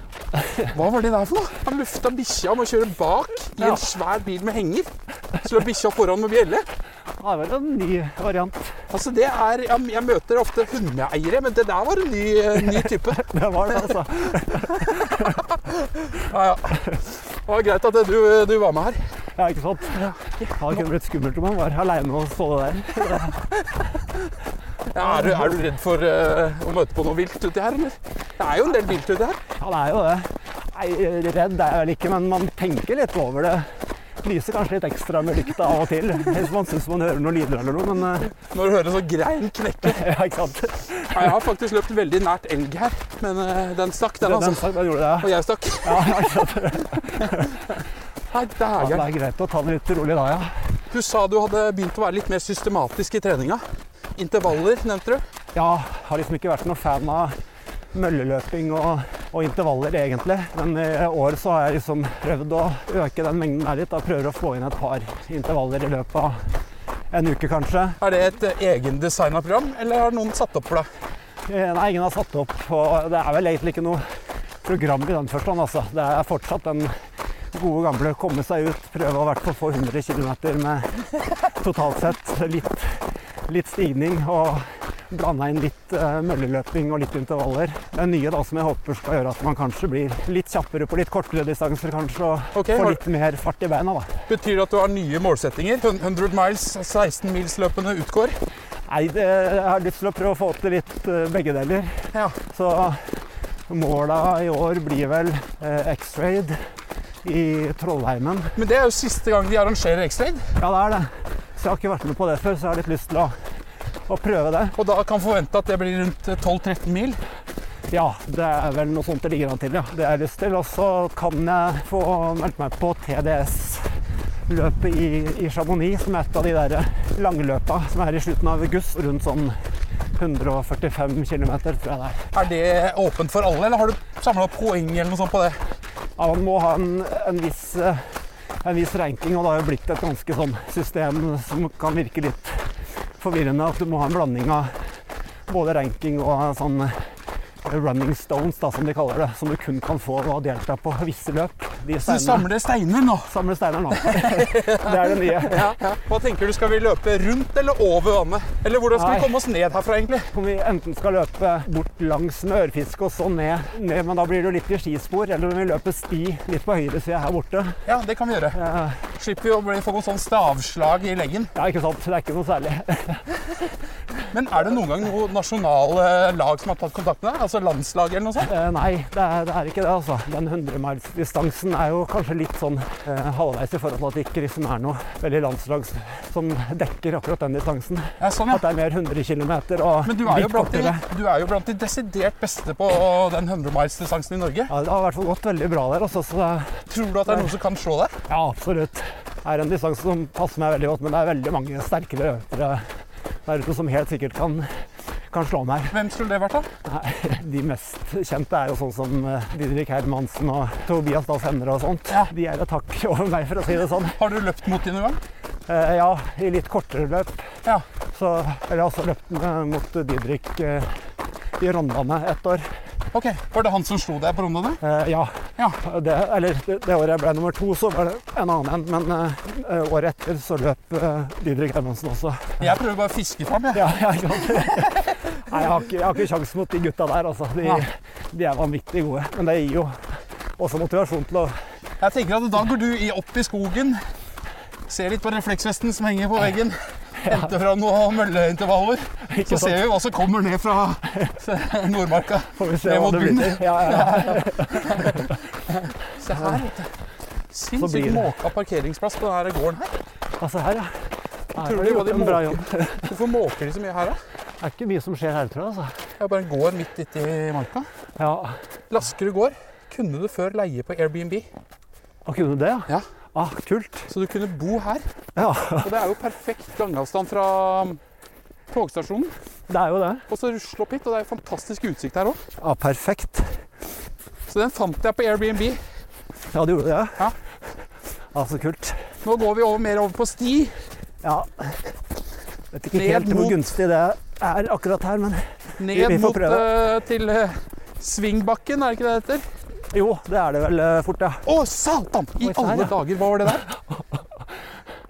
[SPEAKER 1] Hva var det der for noe? Han lufta bikkja om å kjøre bak i
[SPEAKER 3] Ja.
[SPEAKER 1] en svær bil med henger. Så løp bikkja foran med bjelle.
[SPEAKER 3] Ja, Det var en ny variant.
[SPEAKER 1] Altså, det er Jeg, jeg møter ofte hundeeiere, men det der var en ny, eh, ny type.
[SPEAKER 3] Det var det, altså.
[SPEAKER 1] Ja, ja. Det var greit at du, du var med her.
[SPEAKER 3] Ja, ikke sant? Det hadde kunne blitt skummelt om man var aleine og så det der.
[SPEAKER 1] Ja, er, du, er du redd for eh, å møte på noe vilt uti her, eller? Det er jo en del vilt uti her.
[SPEAKER 3] Ja, det er jo det. Nei, redd er jeg vel ikke, men man tenker litt over det. Lyser kanskje litt ekstra med lykta av og til hvis man syns man hører noen lyder eller noe, men
[SPEAKER 1] Når
[SPEAKER 3] eh,
[SPEAKER 1] du hører en sånn grein knekke.
[SPEAKER 3] ja, ikke sant.
[SPEAKER 1] Ja, jeg har faktisk løpt veldig nært elg her, men eh, den stakk, den,
[SPEAKER 3] Den, den,
[SPEAKER 1] altså.
[SPEAKER 3] den gjorde det.
[SPEAKER 1] Og jeg stakk.
[SPEAKER 3] Ja, ja, ikke sant?
[SPEAKER 1] Nei,
[SPEAKER 3] ja, det
[SPEAKER 1] dægeren.
[SPEAKER 3] er greit å ta det litt rolig da, ja.
[SPEAKER 1] Du sa du hadde begynt å være litt mer systematisk i treninga. Intervaller, nevnte du.
[SPEAKER 3] Ja, har liksom ikke vært noen fan av mølleløping og, og intervaller, egentlig. Men i år så har jeg liksom prøvd å øke den mengden der litt. Da prøver å få inn et par intervaller i løpet av en uke, kanskje.
[SPEAKER 1] Er det et eh, egendesigna program, eller har noen satt opp for deg?
[SPEAKER 3] Eh, Nei, ingen har satt opp, og det er vel egentlig ikke noe program i den forstand, altså. Det er fortsatt den gode gamle komme seg ut, prøve å i hvert fall få 100 km med totalt sett litt, litt stigning og blanda inn litt eh, mølleløping og litt intervaller. Det er nye da som jeg håper skal gjøre at man kanskje blir litt kjappere på litt kortere distanser kanskje, og
[SPEAKER 1] Ok,
[SPEAKER 3] får
[SPEAKER 1] har-
[SPEAKER 3] litt mer fart i beina, da.
[SPEAKER 1] Betyr det at du har nye målsettinger? 100 miles, 16 milsløpene utgår?
[SPEAKER 3] Nei, det, jeg har lyst til å prøve å få til litt eh, begge deler.
[SPEAKER 1] Ja.
[SPEAKER 3] Så måla i år blir vel eh, X-Raid i Trollheimen.
[SPEAKER 1] Men det er jo siste gang de arrangerer X-Raid,
[SPEAKER 3] Ja, det er det. Så jeg har ikke vært med på det før, så jeg har litt lyst til å, å prøve det.
[SPEAKER 1] og da kan forvente at det blir rundt eh, 12-13 mil.
[SPEAKER 3] Ja, det er vel noe sånt det ligger an til, ja. Det har jeg lyst til. Og så kan jeg få meldt meg på TDS løpet i, i Chamonix, som er et av de der langløpa som er i slutten av august. Rundt sånn 145 km, tror jeg det er.
[SPEAKER 1] Er det åpent for alle, eller har du samla poeng eller noe sånt på det?
[SPEAKER 3] Ja, man må ha en, en viss eh, en viss ranking, og det har jo blitt et ganske sånn system som kan virke litt forvirrende. At du må ha en blanding av både ranking og sånn running stones, da, som de kaller det. Som du kun kan få ved å delta på visse løp. De
[SPEAKER 1] Så du
[SPEAKER 3] steinene-
[SPEAKER 1] samler steiner nå?
[SPEAKER 3] Samle steiner nå. Det er det nye.
[SPEAKER 1] Hva tenker du, skal vi løpe rundt eller over vannet? Eller hvordan skal
[SPEAKER 3] Nei.
[SPEAKER 1] vi komme oss ned herfra, egentlig?
[SPEAKER 3] Om vi enten skal løpe bort langs med ørfiske og så ned, ned, men da blir det jo litt i skispor. Eller om vi løper sti litt på høyre side her borte.
[SPEAKER 1] Ja, det kan vi gjøre.
[SPEAKER 3] Eh,
[SPEAKER 1] Slipper vi å bli- få noen sånn stavslag i leggen.
[SPEAKER 3] Ja, ikke sant. Det er ikke noe særlig.
[SPEAKER 1] Men er det noen gang noe nasjonale lag som har tatt kontakt med deg? Altså landslag eller noe sånt?
[SPEAKER 3] Eh, Nei, det er, det er ikke det, altså. Den 100-milsdistansen er jo kanskje litt sånn eh, halvveis i forhold til at det ikke liksom er noe veldig landslag s- som dekker akkurat den distansen.
[SPEAKER 1] Ja, sånn,
[SPEAKER 3] At det er mer 100 km og
[SPEAKER 1] Men du er, jo
[SPEAKER 3] litt
[SPEAKER 1] blant de,
[SPEAKER 3] kortere.
[SPEAKER 1] du er jo blant de desidert beste på den 100 miles-distansen i Norge.
[SPEAKER 3] Ja, det har i hvert fall gått veldig bra der, altså. Så det er,
[SPEAKER 1] Tror du at det er noen som kan slå deg?
[SPEAKER 3] ja, absolutt. Det er en distanse som passer meg veldig godt, men det er veldig mange sterkere løpere der ute som helt sikkert kan kan slå meg.
[SPEAKER 1] Hvem skulle det vært, da?
[SPEAKER 3] Nei, De mest kjente er jo sånn som eh, Didrik Hermansen og Tobias Dahl Senner og sånt.
[SPEAKER 1] Ja.
[SPEAKER 3] De er et hakk over meg, for å si det sånn.
[SPEAKER 1] Har du løpt mot dem noen gang?
[SPEAKER 3] Eh, ja, i litt kortere løp.
[SPEAKER 1] Ja.
[SPEAKER 3] Så eller jeg har også løpt med, mot Didrik eh, i Rondane ett år.
[SPEAKER 1] Ok, Var det han som slo deg på rundene?
[SPEAKER 3] Eh, ja.
[SPEAKER 1] Ja.
[SPEAKER 3] Det, eller det, det året jeg ble nummer to, så var det en annen en. Men eh, eh, året etter så løp eh, Didrik Hermansen også.
[SPEAKER 1] Jeg prøver bare å fiske fram, jeg.
[SPEAKER 3] Ja, ja, ikke sant? Nei, jeg har ikke, jeg har ikke sjans mot de gutta der, altså.
[SPEAKER 1] Nei.
[SPEAKER 3] De, de er vanvittig gode. Men det gir jo også motivasjon til å
[SPEAKER 1] Jeg tenker at da går du i- opp i skogen, ser litt på refleksvesten som henger på veggen, henter fram noen mølleintervaller,
[SPEAKER 3] Ikke
[SPEAKER 1] så
[SPEAKER 3] sant?
[SPEAKER 1] ser vi hva som kommer ned fra Nordmarka.
[SPEAKER 3] Får vi se
[SPEAKER 1] ned
[SPEAKER 3] hva
[SPEAKER 1] mot
[SPEAKER 3] det blir
[SPEAKER 1] bunnen.
[SPEAKER 3] til. Ja, ja, ja.
[SPEAKER 1] Se her, vet du.
[SPEAKER 3] blir
[SPEAKER 1] Sinnssykt
[SPEAKER 3] det.
[SPEAKER 1] måka parkeringsplass på denne gården her.
[SPEAKER 3] Altså her, ja. Her
[SPEAKER 1] Tror
[SPEAKER 3] har
[SPEAKER 1] du
[SPEAKER 3] de
[SPEAKER 1] hva
[SPEAKER 3] gjort
[SPEAKER 1] de
[SPEAKER 3] en bra
[SPEAKER 1] måker?
[SPEAKER 3] jobb.
[SPEAKER 1] Hvorfor måker de så mye her, da?
[SPEAKER 3] Det er ikke mye som skjer her, tror jeg. altså.
[SPEAKER 1] Det er bare en gård midt ute i marka.
[SPEAKER 3] Ja,
[SPEAKER 1] Laskerud gård kunne du før leie på Airbnb,
[SPEAKER 3] og kunne du det,
[SPEAKER 1] Ja.
[SPEAKER 3] Ah, kult.
[SPEAKER 1] så du kunne bo her.
[SPEAKER 3] Ja,
[SPEAKER 1] Og det er jo perfekt gangavstand fra togstasjonen.
[SPEAKER 3] det er jo det.
[SPEAKER 1] Og så rusle opp hit, og det er jo fantastisk utsikt her òg.
[SPEAKER 3] Ja, Ah, perfekt.
[SPEAKER 1] Så den fant jeg på Airbnb.
[SPEAKER 3] Ja, du gjorde det?
[SPEAKER 1] Ja.
[SPEAKER 3] Ja, så kult.
[SPEAKER 1] Nå går vi over, mer over på sti.
[SPEAKER 3] Ja. Vet ikke
[SPEAKER 1] Ned
[SPEAKER 3] helt hvor
[SPEAKER 1] mot-
[SPEAKER 3] gunstig det er akkurat her, men
[SPEAKER 1] Ned
[SPEAKER 3] Vi får
[SPEAKER 1] mot
[SPEAKER 3] prøve.
[SPEAKER 1] eh, til eh, Svingbakken, er det ikke det det heter?
[SPEAKER 3] jo, det er det vel eh, fort, ja.
[SPEAKER 1] Å, satan! I
[SPEAKER 3] Oi, der,
[SPEAKER 1] alle
[SPEAKER 3] ja.
[SPEAKER 1] dager, hva var det der?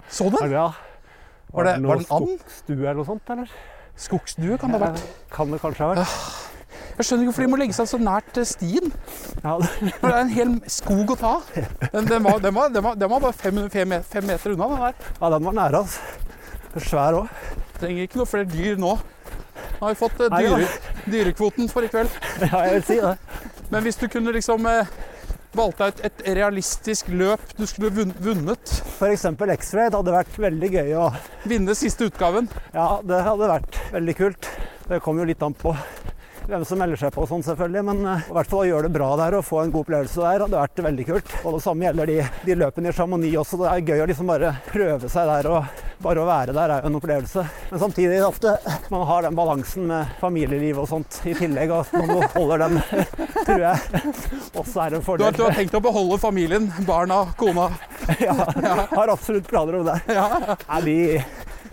[SPEAKER 1] Så
[SPEAKER 3] Er
[SPEAKER 1] den?
[SPEAKER 3] det, ja.
[SPEAKER 1] Var det, var det en and?
[SPEAKER 3] skogstue eller noe sånt, eller?
[SPEAKER 1] Skogsdue kan det ha vært.
[SPEAKER 3] Kan det kanskje ha vært.
[SPEAKER 1] Jeg skjønner ikke hvorfor de må legge seg så nært eh, stien.
[SPEAKER 3] Ja, det-
[SPEAKER 1] For det er en hel skog å ta. Den, den, var, den, var, den, var, den var bare fem, fem, me- fem meter unna, den der.
[SPEAKER 3] ja den var nære, altså. Svær òg.
[SPEAKER 1] Trenger ikke noe flere dyr nå. Nå har vi fått eh,
[SPEAKER 3] Nei, ja.
[SPEAKER 1] dyre, dyrekvoten for i kveld.
[SPEAKER 3] Ja, jeg vil si det.
[SPEAKER 1] Men hvis du kunne liksom eh, valgt deg et, et realistisk løp du skulle vun- vunnet,
[SPEAKER 3] For eksempel X-ray. Det hadde vært veldig gøy å
[SPEAKER 1] vinne siste utgaven
[SPEAKER 3] Ja, det hadde vært veldig kult. Det kommer jo litt an på hvem som melder seg på og sånn, selvfølgelig. Men eh, i hvert fall å gjøre det bra der og få en god opplevelse der hadde vært veldig kult. Og det samme gjelder de, de løpene i Chamonix også. Det er gøy å liksom bare prøve seg der og bare å være der er jo en opplevelse. Men samtidig ofte man har den balansen med familieliv og sånt i tillegg, og at man holder den, tror jeg også
[SPEAKER 1] Du
[SPEAKER 3] er en
[SPEAKER 1] har,
[SPEAKER 3] fordel.
[SPEAKER 1] du har tenkt å beholde familien, barna, kona.
[SPEAKER 3] Ja, har absolutt planer om det. Nei, de,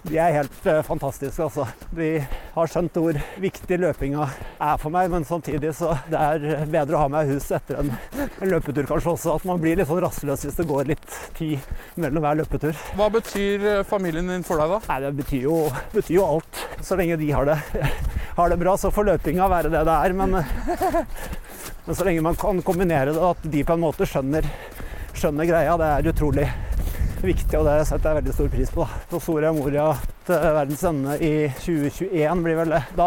[SPEAKER 3] de er helt eh, fantastiske, altså. De har skjønt hvor viktig løpinga er for meg, men samtidig så det er eh, bedre å ha meg i hus etter en, en løpetur kanskje også. At man blir litt sånn rastløs hvis det går litt tid mellom hver løpetur.
[SPEAKER 1] Hva betyr eh, familien din for deg, da?
[SPEAKER 3] Nei, det betyr jo, betyr jo alt. Så lenge de har det, har det bra, så får løpinga være det det er. Men, men så lenge man kan kombinere det, at de på en måte skjønner, skjønner greia, det er utrolig viktig, og det setter jeg veldig stor pris på. da. På Soria Moria til verdens ende i 2021 blir vel det. Da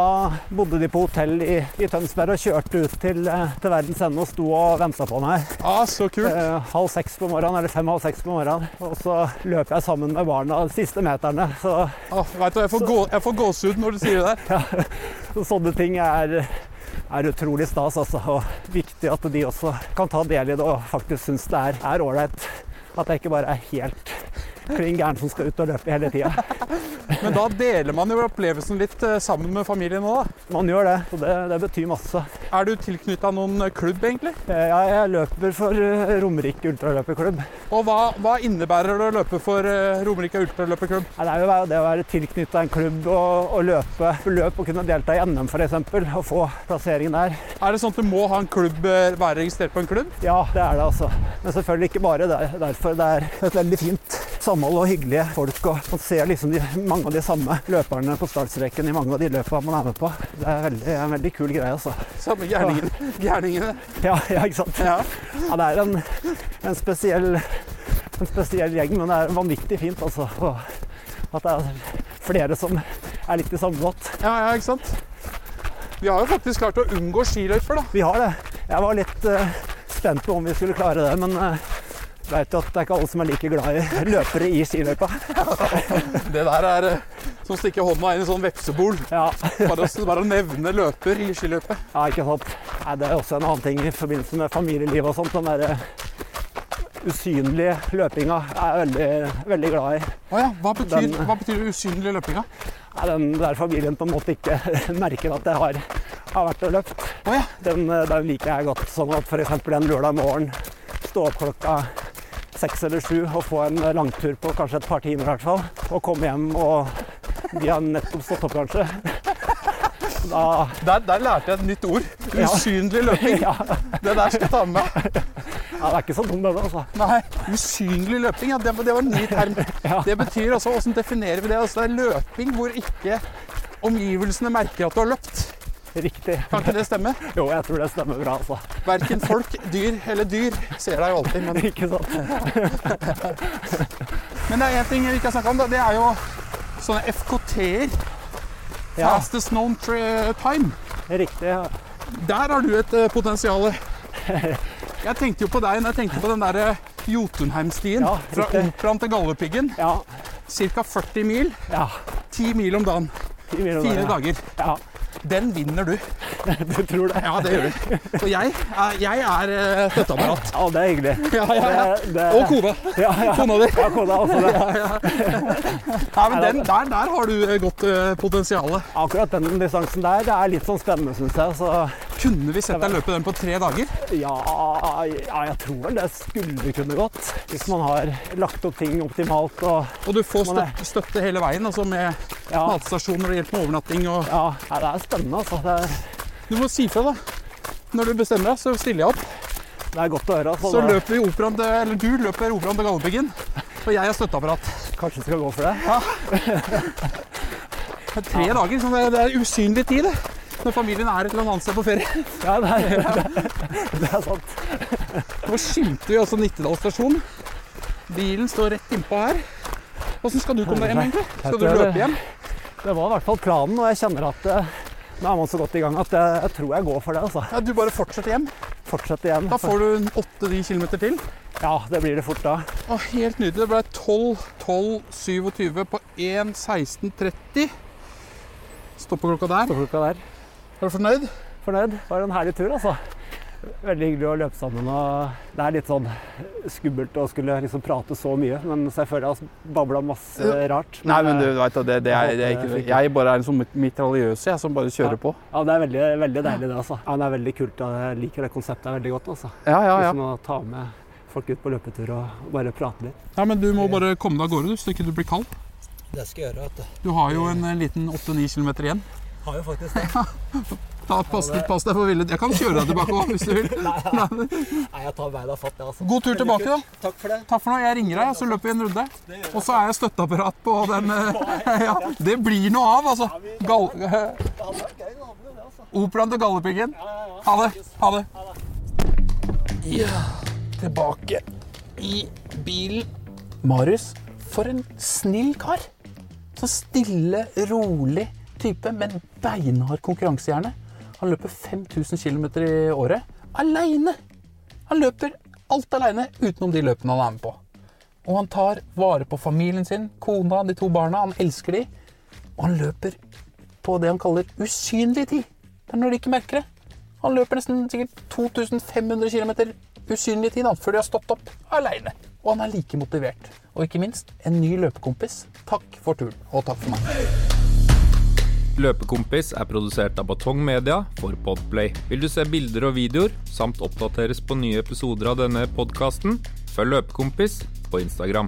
[SPEAKER 3] bodde de på hotell i, i Tønsberg og kjørte ut til, eh, til verdens ende og sto og venta på meg.
[SPEAKER 1] Ah, så kult.
[SPEAKER 3] Eh, halv seks på morgenen, eller fem-halv seks på morgenen. Og så løper jeg sammen med barna de siste meterne. Så
[SPEAKER 1] Ah, vet du, jeg får, gå, jeg får gåsehud når du sier det der.
[SPEAKER 3] sånne ting er, er utrolig stas, altså. Og viktig at de også kan ta del i det og faktisk syns det er er ålreit At jeg ikke bare er helt klin gæren som skal ut og løpe hele tida.
[SPEAKER 1] Men da deler man jo opplevelsen litt eh, sammen med familien òg, da.
[SPEAKER 3] Man gjør det, og det, det betyr masse.
[SPEAKER 1] Er du tilknytta noen eh, klubb, egentlig?
[SPEAKER 3] Eh, Ja, jeg løper for eh, Romerike ultraløperklubb.
[SPEAKER 1] Og hva, hva innebærer det å løpe for eh, Romerike ultraløperklubb?
[SPEAKER 3] Ja, Det er jo bare det å være tilknytta en klubb og, og løpe løp og kunne delta i NM f.eks. og få plassering der.
[SPEAKER 1] Er det sånn at du må ha en klubb, eh, være registrert på en klubb?
[SPEAKER 3] Ja, det er det altså. Men selvfølgelig ikke bare der, derfor. Det er et veldig fint samhold og hyggelige folk. Og man ser liksom de, mange av de samme løperne på startstreken i mange av de løpene man er med på. Det er veldig, en veldig kul greie, altså.
[SPEAKER 1] Samme gærningen- gærningene.
[SPEAKER 3] Ja, ja ikke sant?
[SPEAKER 1] Ja.
[SPEAKER 3] Ja, det er en, en, spesiell, en spesiell gjeng, men det er vanvittig fint, altså. Og at det er flere som er litt i samme båt.
[SPEAKER 1] ja, ja, ikke sant? Vi har jo faktisk klart å unngå skiløyper, da.
[SPEAKER 3] Vi har det. Jeg var litt eh, spent på om vi skulle klare det, men uh, veit jo at det er ikke alle som er like glad i løpere i skiløypa.
[SPEAKER 1] Det der er eh, som å stikke hånda inn i en sånn vepsebol.
[SPEAKER 3] Ja,
[SPEAKER 1] Bare å, bare å nevne løper i skiløpet.
[SPEAKER 3] ja, ikke sant. Nei, det er også en annen ting i forbindelse med familieliv og sånt. Den derre usynlige løpinga er jeg veldig, veldig glad i.
[SPEAKER 1] Å ja, hva betyr,
[SPEAKER 3] Den-
[SPEAKER 1] hva betyr usynlig løpinga?
[SPEAKER 3] Nei, den der familien på en måte ikke merker at jeg har, har vært og løpt.
[SPEAKER 1] Å ja.
[SPEAKER 3] Den, eh, den liker jeg godt. Sånn at f.eks. en lørdag morgen stå opp klokka seks eller sju og få en langtur på kanskje et par timer i hvert fall. Og komme hjem og de har nettopp stått opp, kanskje. Da,
[SPEAKER 1] Der, der lærte jeg et nytt ord.
[SPEAKER 3] Ja.
[SPEAKER 1] Usynlig løping.
[SPEAKER 3] ja,
[SPEAKER 1] Det der skal jeg ta med meg.
[SPEAKER 3] ja, det er ikke så dum, den, altså.
[SPEAKER 1] Nei, usynlig løping, ja, det, var- det var en ny term.
[SPEAKER 3] Ja.
[SPEAKER 1] Det betyr altså, Hvordan definerer vi det? Altså, det er løping hvor ikke omgivelsene merker at du har løpt.
[SPEAKER 3] Riktig.
[SPEAKER 1] Kan ikke det stemme?
[SPEAKER 3] Jo, jeg tror det stemmer bra, altså.
[SPEAKER 1] Verken folk, dyr eller dyr ser deg jo alltid. Men,
[SPEAKER 3] Ikke sant?
[SPEAKER 1] men det er én ting vi ikke har snakka om, da, det er jo sånne FKT-er.
[SPEAKER 3] Ja,
[SPEAKER 1] Fastest known tri- time.
[SPEAKER 3] riktig. ja.
[SPEAKER 1] Der har du et eh, potensial. Jeg tenkte jo på deg når jeg tenkte på den der eh, Jotunheimstien.
[SPEAKER 3] Ja,
[SPEAKER 1] fra
[SPEAKER 3] riktig.
[SPEAKER 1] Operaen til Galdhøpiggen.
[SPEAKER 3] Ja.
[SPEAKER 1] Ca. 40 mil.
[SPEAKER 3] ja.
[SPEAKER 1] 10 mil om dagen.
[SPEAKER 3] i mine
[SPEAKER 1] Fire
[SPEAKER 3] dager.
[SPEAKER 1] dager.
[SPEAKER 3] Ja,
[SPEAKER 1] Den vinner du.
[SPEAKER 3] du tror det?
[SPEAKER 1] Ja, det gjør du. Og jeg er, jeg er eh, støtteapparat.
[SPEAKER 3] Ja, det er hyggelig.
[SPEAKER 1] Ja, ja, ja.
[SPEAKER 3] Det- det-
[SPEAKER 1] Og kona.
[SPEAKER 3] Ja, ja.
[SPEAKER 1] Kona di.
[SPEAKER 3] Ja, kona, altså det.
[SPEAKER 1] Nei, men den, der, der har du eh, godt eh, potensial.
[SPEAKER 3] Akkurat den distansen der det er litt sånn spennende, syns jeg. Så
[SPEAKER 1] Kunne vi sett deg løpe den på tre dager?
[SPEAKER 3] ja, ja, jeg tror vel det skulle kunne gått. Hvis man har lagt opp ting optimalt og
[SPEAKER 1] Og du får
[SPEAKER 3] Man er-
[SPEAKER 1] støtte, støtte hele veien, altså med
[SPEAKER 3] ja.
[SPEAKER 1] matstasjoner og hjelp med overnatting og
[SPEAKER 3] ja nei, det er spennende, altså. Det er,
[SPEAKER 1] Du må si fra, da. Når du bestemmer deg, så stiller jeg opp.
[SPEAKER 3] det er godt å høre. Altså,
[SPEAKER 1] Så
[SPEAKER 3] da-
[SPEAKER 1] løper vi operaen til, eller du løper operaen til Galdhøpiggen, og jeg er støtteapparat.
[SPEAKER 3] Kanskje skal gå for det.
[SPEAKER 1] Det er tre dager, så det er, det er usynlig tid, det. Når familien er et eller annet sted på ferie.
[SPEAKER 3] Ja, det er, det er sant.
[SPEAKER 1] Nå skimter vi altså Nittedal stasjon. Bilen står rett innpå her. Åssen skal du komme deg hjem, egentlig? Skal du løpe hjem?
[SPEAKER 3] Det var i hvert fall planen, og jeg kjenner at eh, nå er man så godt i gang at jeg, jeg tror jeg går for det. altså.
[SPEAKER 1] Ja, du bare fortsetter hjem.
[SPEAKER 3] Fortsett igjen.
[SPEAKER 1] Da får du 8-9 km til.
[SPEAKER 3] Ja, det blir det fort da.
[SPEAKER 1] Å, helt nydelig. Det ble 12-12-27 på 1.16,30. Stopper klokka der.
[SPEAKER 3] Klokka der.
[SPEAKER 1] Er du fornøyd?
[SPEAKER 3] fornøyd. Det var en herlig tur, altså. Veldig hyggelig å løpe sammen. og Det er litt sånn skummelt å skulle liksom prate så mye, men så jeg føler jeg har babla masse rart. eh,
[SPEAKER 1] Nei, men du vet at det, det, er,
[SPEAKER 3] Jeg
[SPEAKER 1] det er
[SPEAKER 3] håper
[SPEAKER 1] ikke
[SPEAKER 3] jeg fikk-
[SPEAKER 1] Jeg bare er en sånn mitraljøs, jeg, som bare kjører på.
[SPEAKER 3] Ja, Det er veldig, veldig deilig, det. altså. Ja, det er veldig kult. og Jeg liker det konseptet veldig godt. altså.
[SPEAKER 1] Ja, ja, ja.
[SPEAKER 3] Liksom å ta med folk ut på løpetur og bare prate litt.
[SPEAKER 1] ja men du må bare komme deg av gårde, du, så ikke du blir kald.
[SPEAKER 3] Det skal jeg gjøre. vet du.
[SPEAKER 1] Du har jo en eh, liten 8-9 km igjen.
[SPEAKER 3] Har jo faktisk det.
[SPEAKER 1] Da pass, pass deg for ville Jeg kan kjøre deg tilbake òg, hvis du vil.
[SPEAKER 3] Nei, jeg tar beina fatt, jeg, altså.
[SPEAKER 1] God tur tilbake, da.
[SPEAKER 6] Takk for det.
[SPEAKER 1] Takk for nå. Jeg ringer deg, og så løper vi en runde. Og så er jeg støtteapparat på den eh, Ja, det blir noe av, altså. Gal Operaen til Galdhøpiggen. Ha det. Ha det. Ja, tilbake i bilen. Marius, for en snill kar. Så stille, rolig type, men beinhard konkurransehjerne. Han løper 5000 km i året aleine. Han løper alt aleine utenom de løpene han er med på. Og han tar vare på familien sin, kona, de to barna. Han elsker de. Og han løper på det han kaller usynlig tid. Det er når de ikke merker det. Han løper nesten sikkert 2500 km usynlig tid da, før de har stått opp aleine. Og og han er like motivert. Og ikke minst, en ny løpekompis. Takk for turen, og takk for meg.
[SPEAKER 7] Løpekompis er produsert av Batong Media for Podplay. Vil du se bilder og videoer, samt oppdateres på nye episoder av denne podkasten, følg Løpekompis på Instagram.